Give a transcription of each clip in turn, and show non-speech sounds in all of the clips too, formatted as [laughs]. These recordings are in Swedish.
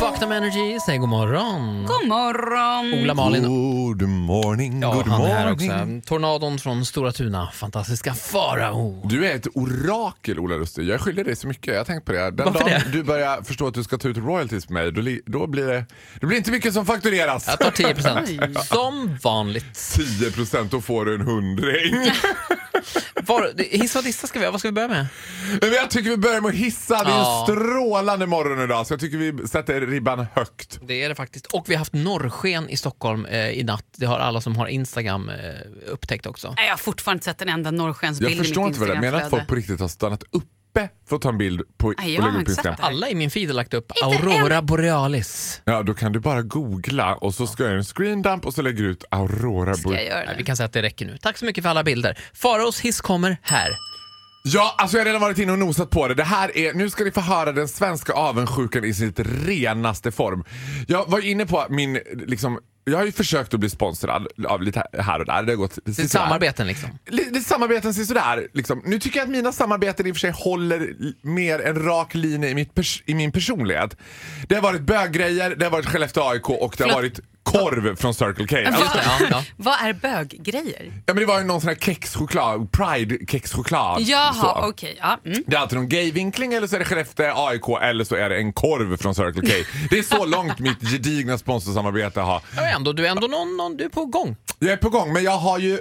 Vakna med Energy, säg god morgon. God morgon! Ola Malin. Good morning, Ja, good han är här morning. också. Tornadon från Stora Tuna, fantastiska farao. Du är ett orakel Ola Lustig. Jag skyller dig så mycket. Jag har tänkt på det. här. Den Varför dagen det? du börjar förstå att du ska ta ut royalties med mig, då, li- då blir det, det blir inte mycket som faktureras. Jag tar 10 som vanligt. 10 procent, då får du en [laughs] hundring. Var, hiss och dissa ska vi ha, vad ska vi börja med? Men jag tycker vi börjar med att hissa. Det är Ja. en strålande morgon idag, så jag tycker vi sätter ribban högt. Det är det faktiskt. Och vi har haft norrsken i Stockholm eh, i natt. Det har alla som har Instagram eh, upptäckt också. Nej, jag har fortfarande inte sett en enda norrskensbild Jag förstår i inte mitt vad det är. Menar att folk på Instagramflöde. riktigt har stannat uppe för att ta en bild på, och Nej, jag lägga har upp inte Instagram? sett det. Alla i min feed har lagt upp Aurora Borealis. Ja, då kan du bara googla och så ska jag göra en screen dump och så lägger du ut Aurora Ska jag Borealis. göra Nej, vi det? kan säga att det räcker nu. Tack så mycket för alla bilder. Faraos hiss kommer här. Ja, alltså jag har redan varit inne och nosat på det. det här är, nu ska ni få höra den svenska avundsjukan i sitt renaste form. Jag var inne på min, liksom, jag har ju försökt att bli sponsrad av lite här och där. Det har gått Det är samarbeten liksom. Lite samarbeten sådär. Liksom. Nu tycker jag att mina samarbeten i och för sig håller l- mer en rak linje i, mitt pers- i min personlighet. Det har varit böggrejer, det har varit Skellefteå AIK och det har varit korv från Circle K. Alltså, Just det, ja, ja. Vad är böggrejer? ja, men det var ju någon sån här kexchoklad, Pride-kexchoklad. så. Jaha, okej. Ja, mm. Det är alltid någon gayvinkling eller så är det Skellefteå AIK eller så är det en korv från Circle K. Det är så långt mitt gedigna sponsorsamarbete har. Ja, ändå, du är ändå någon, någon, du är på gång. Jag är på gång men jag har ju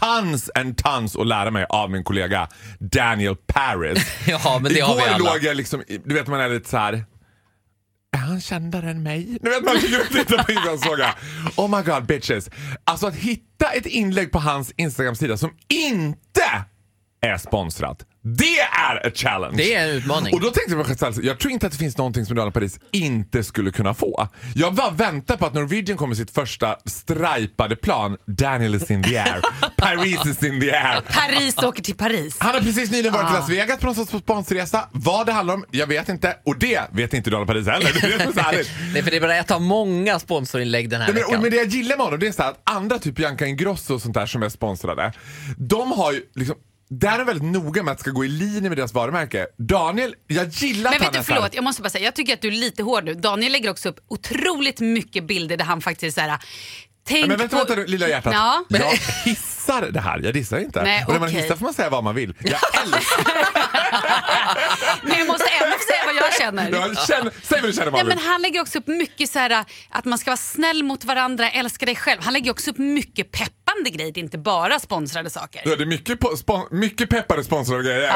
tons en tons att lära mig av min kollega Daniel Paris. [laughs] Ja, men det har vi Igår alla. låg jag liksom, i- du vet man är lite så här. Är han kändare än mig? Nu vet man ligger och tittar på Instagram Oh my god bitches. Alltså att hitta ett inlägg på hans Instagram-sida som inte är sponsrat. Det är a challenge. Det är en utmaning. Och då tänkte jag på mig själv, så här, jag tror inte att det finns någonting som Daniel Paris inte skulle kunna få. Jag bara väntar på att Norwegian kommer med sitt första strajpade plan. Daniel is in the air. Paris is in the air. Paris åker till Paris. Han har precis nyligen varit i Ah. Las Vegas på någon sorts sponsresa. Vad det handlar om, jag vet inte. Och det vet inte Daniel Paris heller. Det är [laughs] så härligt. Nej, för det är bara ett av många sponsorinlägg den här Nej, men, veckan. och, men det jag gillar med honom det är så här att andra, typ Bianca Ingrosso och sånt där som är sponsrade, de har ju liksom där är väldigt noga med att det ska gå i linje med deras varumärke. Daniel, jag gillar Men att han vet du, är så här- förlåt, jag måste bara säga, jag tycker att du är lite hård nu. Daniel lägger också upp otroligt mycket bilder där han faktiskt så här, tänk Nej, men vänta, på... vänta nu, lilla hjärtat. Ja. Jag hissar det här, jag dissar inte. Nej, och när man okej. hissar får man säga vad man vill. [laughs] Jag älskar Men jag måste ändå få säga vad jag [laughs] känner. jag känner, Säg vad du känner Nej, Malin. men han lägger också upp mycket så här, att man ska vara snäll mot varandra, älska dig själv. Han lägger också upp mycket peppande grejer, det är inte bara sponsrade saker. Ja, Det är mycket, po- spon- mycket peppade sponsrade grejer.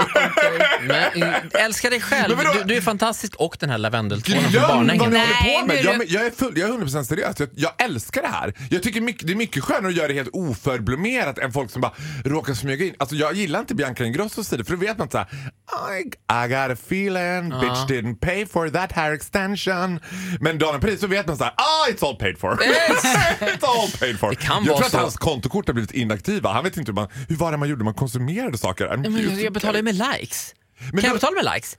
Men, mm, älskar dig själv, Men vadå? du, du är fantastisk och den här lavendeltårtan från Glöm vad barnängen. ni Nej, håller på med. men Jag, du- men jag, är full, jag är 100% seriös. Jag, jag älskar det här. Jag tycker mycket, det är mycket skönare att göra det helt oförblommerat än folk som bara råkar smyga in. Alltså, jag gillar inte Bianca Ingrossos sida för då vet man inte såhär I, I got a feeling, bitch didn't pay for that hair extension. Men dagen precis så vet man såhär ah it's all paid for. [laughs] it's all paid for. kan jag vara tror att så. hans kontokort har blivit inaktiva. Han vet inte hur, man, hur var det man gjorde, man konsumerade saker. I'm Ja, men just- Jag betalar ju med likes. Men kan jag då- betala med likes?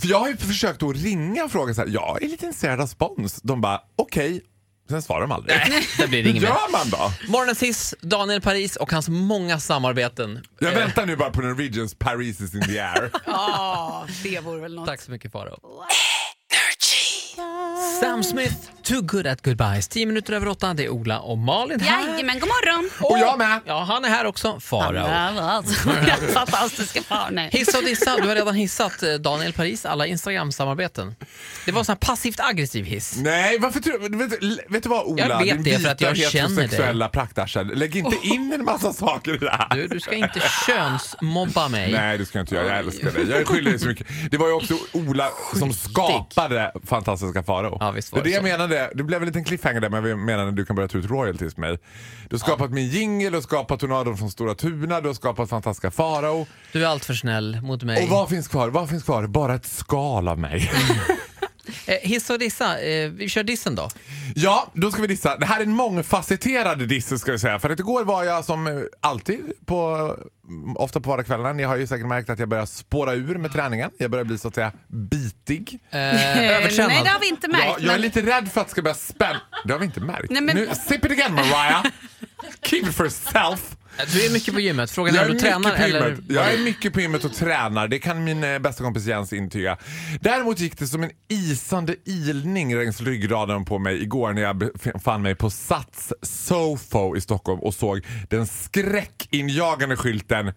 för jag har ju försökt att ringa och fråga så här, jag är lite intresserad av spons. De bara, okej. Sen svarar de aldrig. Det blir det Hur inget mer. gör man då? Morgonens hiss, Daniel Paris och hans många samarbeten. Eh, Jag väntar nu bara på Norwegians Paris is in the [laughs] air. Ja, det vore väl något. Tack så mycket Farao. Sam Smith, Too Good At Goodbyes. 10 minuter över åtta, det är Ola och Malin här. Jajamän, god morgon! Och jag med. Ja, han är här också, Farao. [laughs] Farao. [laughs] Fantastiska Farao. Hissa och dissa, du har redan hissat eh, Daniel Paris alla Instagram-samarbeten. Det var en sån här passivt aggressiv hiss. Nej, varför tror du... Vet, du- vet du vad Ola? Jag vet Din det, för att vita jag känner dig. heterosexuella praktarsel. [laughs] Lägg inte in en massa saker i det här. Du, du ska inte könsmobba mig. Nej, det ska jag inte göra. Jag älskar dig. Jag skyller dig så mycket. Det var ju också Ola som skapade fantastiska Farao. Ja, visst var det är det det jag så. menade. Det blev en liten cliffhanger där, men jag menade att du kan börja ta ut royalties med mig. Du har skapat min jingle, du har skapat Tornadon från Stora Tuna, du har skapat fantastiska Farao. Du är allt för snäll mot mig. [laughs] Och vad finns kvar? Vad finns kvar? Bara ett skal av mig. Eh, hiss och dissa, eh, vi kör dissen då. Ja, då ska vi dissa. Det här är en mångfacetterad diss ska vi säga. För att igår var jag som eh, alltid, på, mm, ofta på vardagskvällarna, ni har ju säkert märkt att jag börjar spåra ur med träningen. Jag börjar bli så att säga bitig. Eh, övertränad. Nej, det har vi inte märkt. jag, jag är men- lite rädd för att det ska börja spänna. Det har vi inte märkt. Nej, men- Nu, sip it again Mariah! Keep it for yourself! Du är mycket på gymmet. Frågan är Jag om är, du tränar mycket på eller... gymmet. jag är mycket på gymmet och tränar. Det kan min eh, bästa kompis Jens intyga. Däremot gick det som en isande ilning längs ryggraden på mig igår när jag befann mig på Sats Sofo i Stockholm och såg den skräckinjagande skylten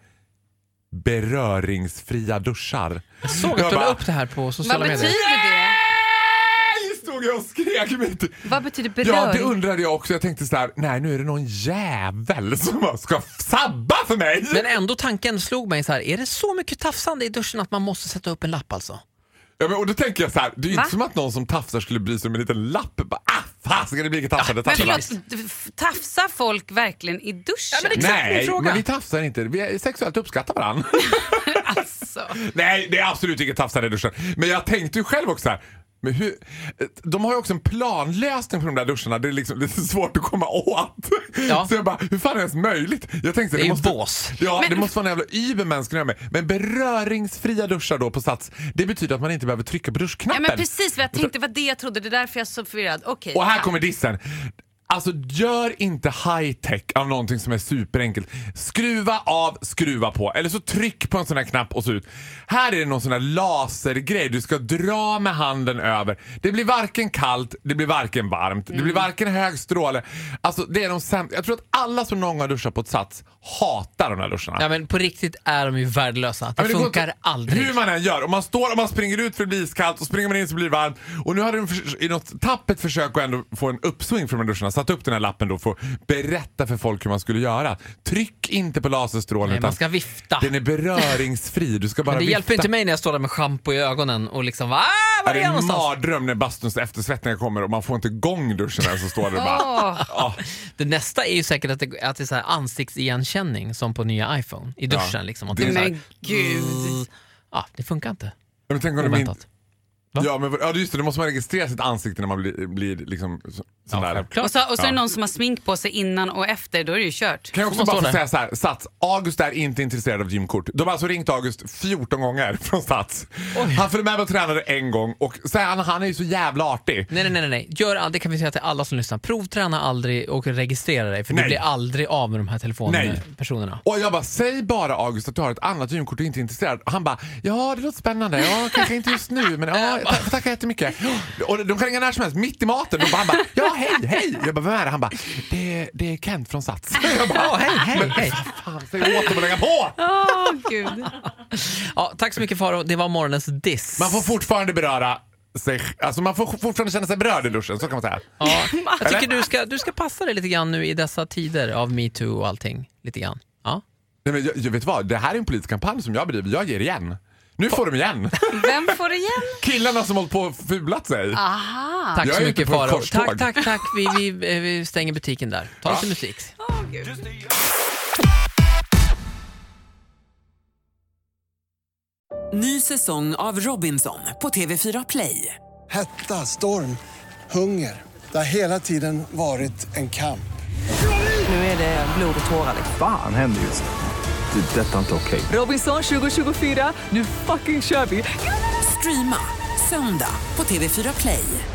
beröringsfria duschar. Jag Såg att du la bara, upp det här på Vad sociala medier. betyder det? "Nej!" "Äh!" stod jag och skrek mitt i- Vad betyder Ja, beröring? det undrade jag också. Jag tänkte så här: nej nu är det någon jävel som ska sabba för mig. Men ändå tanken slog mig så här, är det så mycket tafsande i duschen att man måste sätta upp en lapp alltså? Ja, men, och då tänker jag så här, det är ju Va? inte som att någon som tafsar skulle bry sig om en liten lapp. Bara, ah, fan, ska det bli tafsande men tafsande? förlåt, f- tafsar folk verkligen i duschen? men det- Exakt min Nej, fråga. men vi tafsar inte. Vi är sexuellt uppskattar varandra. alltså. [laughs] Nej, det är absolut inget tafsande i duschen. Men jag tänkte ju själv också så här. Men hur, de har ju också en planlösning på de där duscharna. Det är liksom lite [laughs] svårt att komma åt. Ja. Så jag bara, hur fan är det ens möjligt? Jag tänkte, Det är ju måste, bås. Ja, det måste vara en jävla übermänsklig med. Men beröringsfria duschar då på Sats, det betyder att man inte behöver trycka på Ja, duschknappen. men precis vad jag tänkte, vad det jag trodde. Det är därför jag är så förvirrad. Okej. Och här kommer dissen. Alltså gör inte high-tech av någonting som är superenkelt. Skruva av, skruva på. Eller så tryck på en sån här knapp och så ut. Här är det någon sån här lasergrej du ska dra med handen över. Det blir varken kallt, det blir varken varmt, det blir Mm. varken hög stråle. Alltså det är de sämsta. Jag tror att alla som någon gång har duschat på ett sats hatar de här duscharna. Ja men på riktigt är de ju värdelösa. Det Ja, men går funkar inte- aldrig. Hur man än gör. Om man står och man springer ut för det blir iskallt och springer man in så blir det varmt. Och nu hade de förs- i något tappert försök att ändå få en uppsving från de duscharna satt upp den här lappen då för att berätta för folk hur man skulle göra. Tryck inte på laserstrålen Nej, utan man ska vifta. den är beröringsfri. Du ska bara Men det vifta. hjälper inte mig när jag står där med schampo i ögonen och liksom va? Ah, Är var det är jag är en någonstans? mardröm när bastuns eftersvettningar kommer och man får inte igång duschen än så står det bara... Åh. Ja. Det nästa är ju säkert att det, att det är så här ansiktsigenkänning som på nya iPhone i duschen. Ja. liksom, att Det- det, är så här, Men gud. Mm. ja, det funkar inte. Men tänk om de inte... Oväntat. Ja, men, ja just det, då måste man registrera sitt ansikte när man blir, blir liksom så, sån där. självklart. Och så, och så är Ja. det någon som har smink på sig innan och efter, då är det ju kört. Kan jag Får också man bara stå få där? säga så här, Sats, August är inte intresserad av gymkort. De har alltså ringt August 14 gånger från Sats. Han följde med mig och tränade en gång och så här, han, han är ju så jävla artig. Nej, nej, nej, nej, nej. Gör aldrig, det kan vi säga till alla som lyssnar. Provträna aldrig och registrera dig för Nej. du blir aldrig av med de här telefonpersonerna. Och jag bara, säg bara August att du har ett annat gymkort och inte är intresserad. Och han bara, ja det låter spännande. Ja, kanske inte just nu men ja, ta, tackar jättemycket. Och de kan ringa när som helst, mitt i maten. Och han bara, ja hej, hej. Jag bara, vem är det? Han bara, det, är- det är Kent från Sats. [laughs] Jag bara, Ja, hej, hej, men hej. fan, säg åt dem att lägga på! Åh, gud. Ja, tack så mycket Faro. det var morgonens diss. Man får fortfarande beröra sig, alltså man får fortfarande känna sig berörd i duschen, så kan man säga. Ja, jag tycker du ska, du ska passa dig lite grann nu i dessa tider av metoo och allting. Lite grann. Ja. Nej, men jag, jag vet vad, det här är en politisk kampanj som jag bedriver, jag ger igen. Nu får de igen. Vem får det igen? Killarna som hållit på och fulat sig. Aha. Tack Jag så är ute mycket på ett Faro. korståg. Tack, tack, tack. Vi, vi, eh, vi stänger butiken där. Ta lite musik. Ny säsong av Robinson på TV4 Play. Hetta, storm, hunger. Det har hela tiden varit en kamp. Nu är det blod och tårar. Fan händer just det. Det är detta inte okej. Robinson 2024, nu fucking kör vi! Streama söndag på TV4 Play.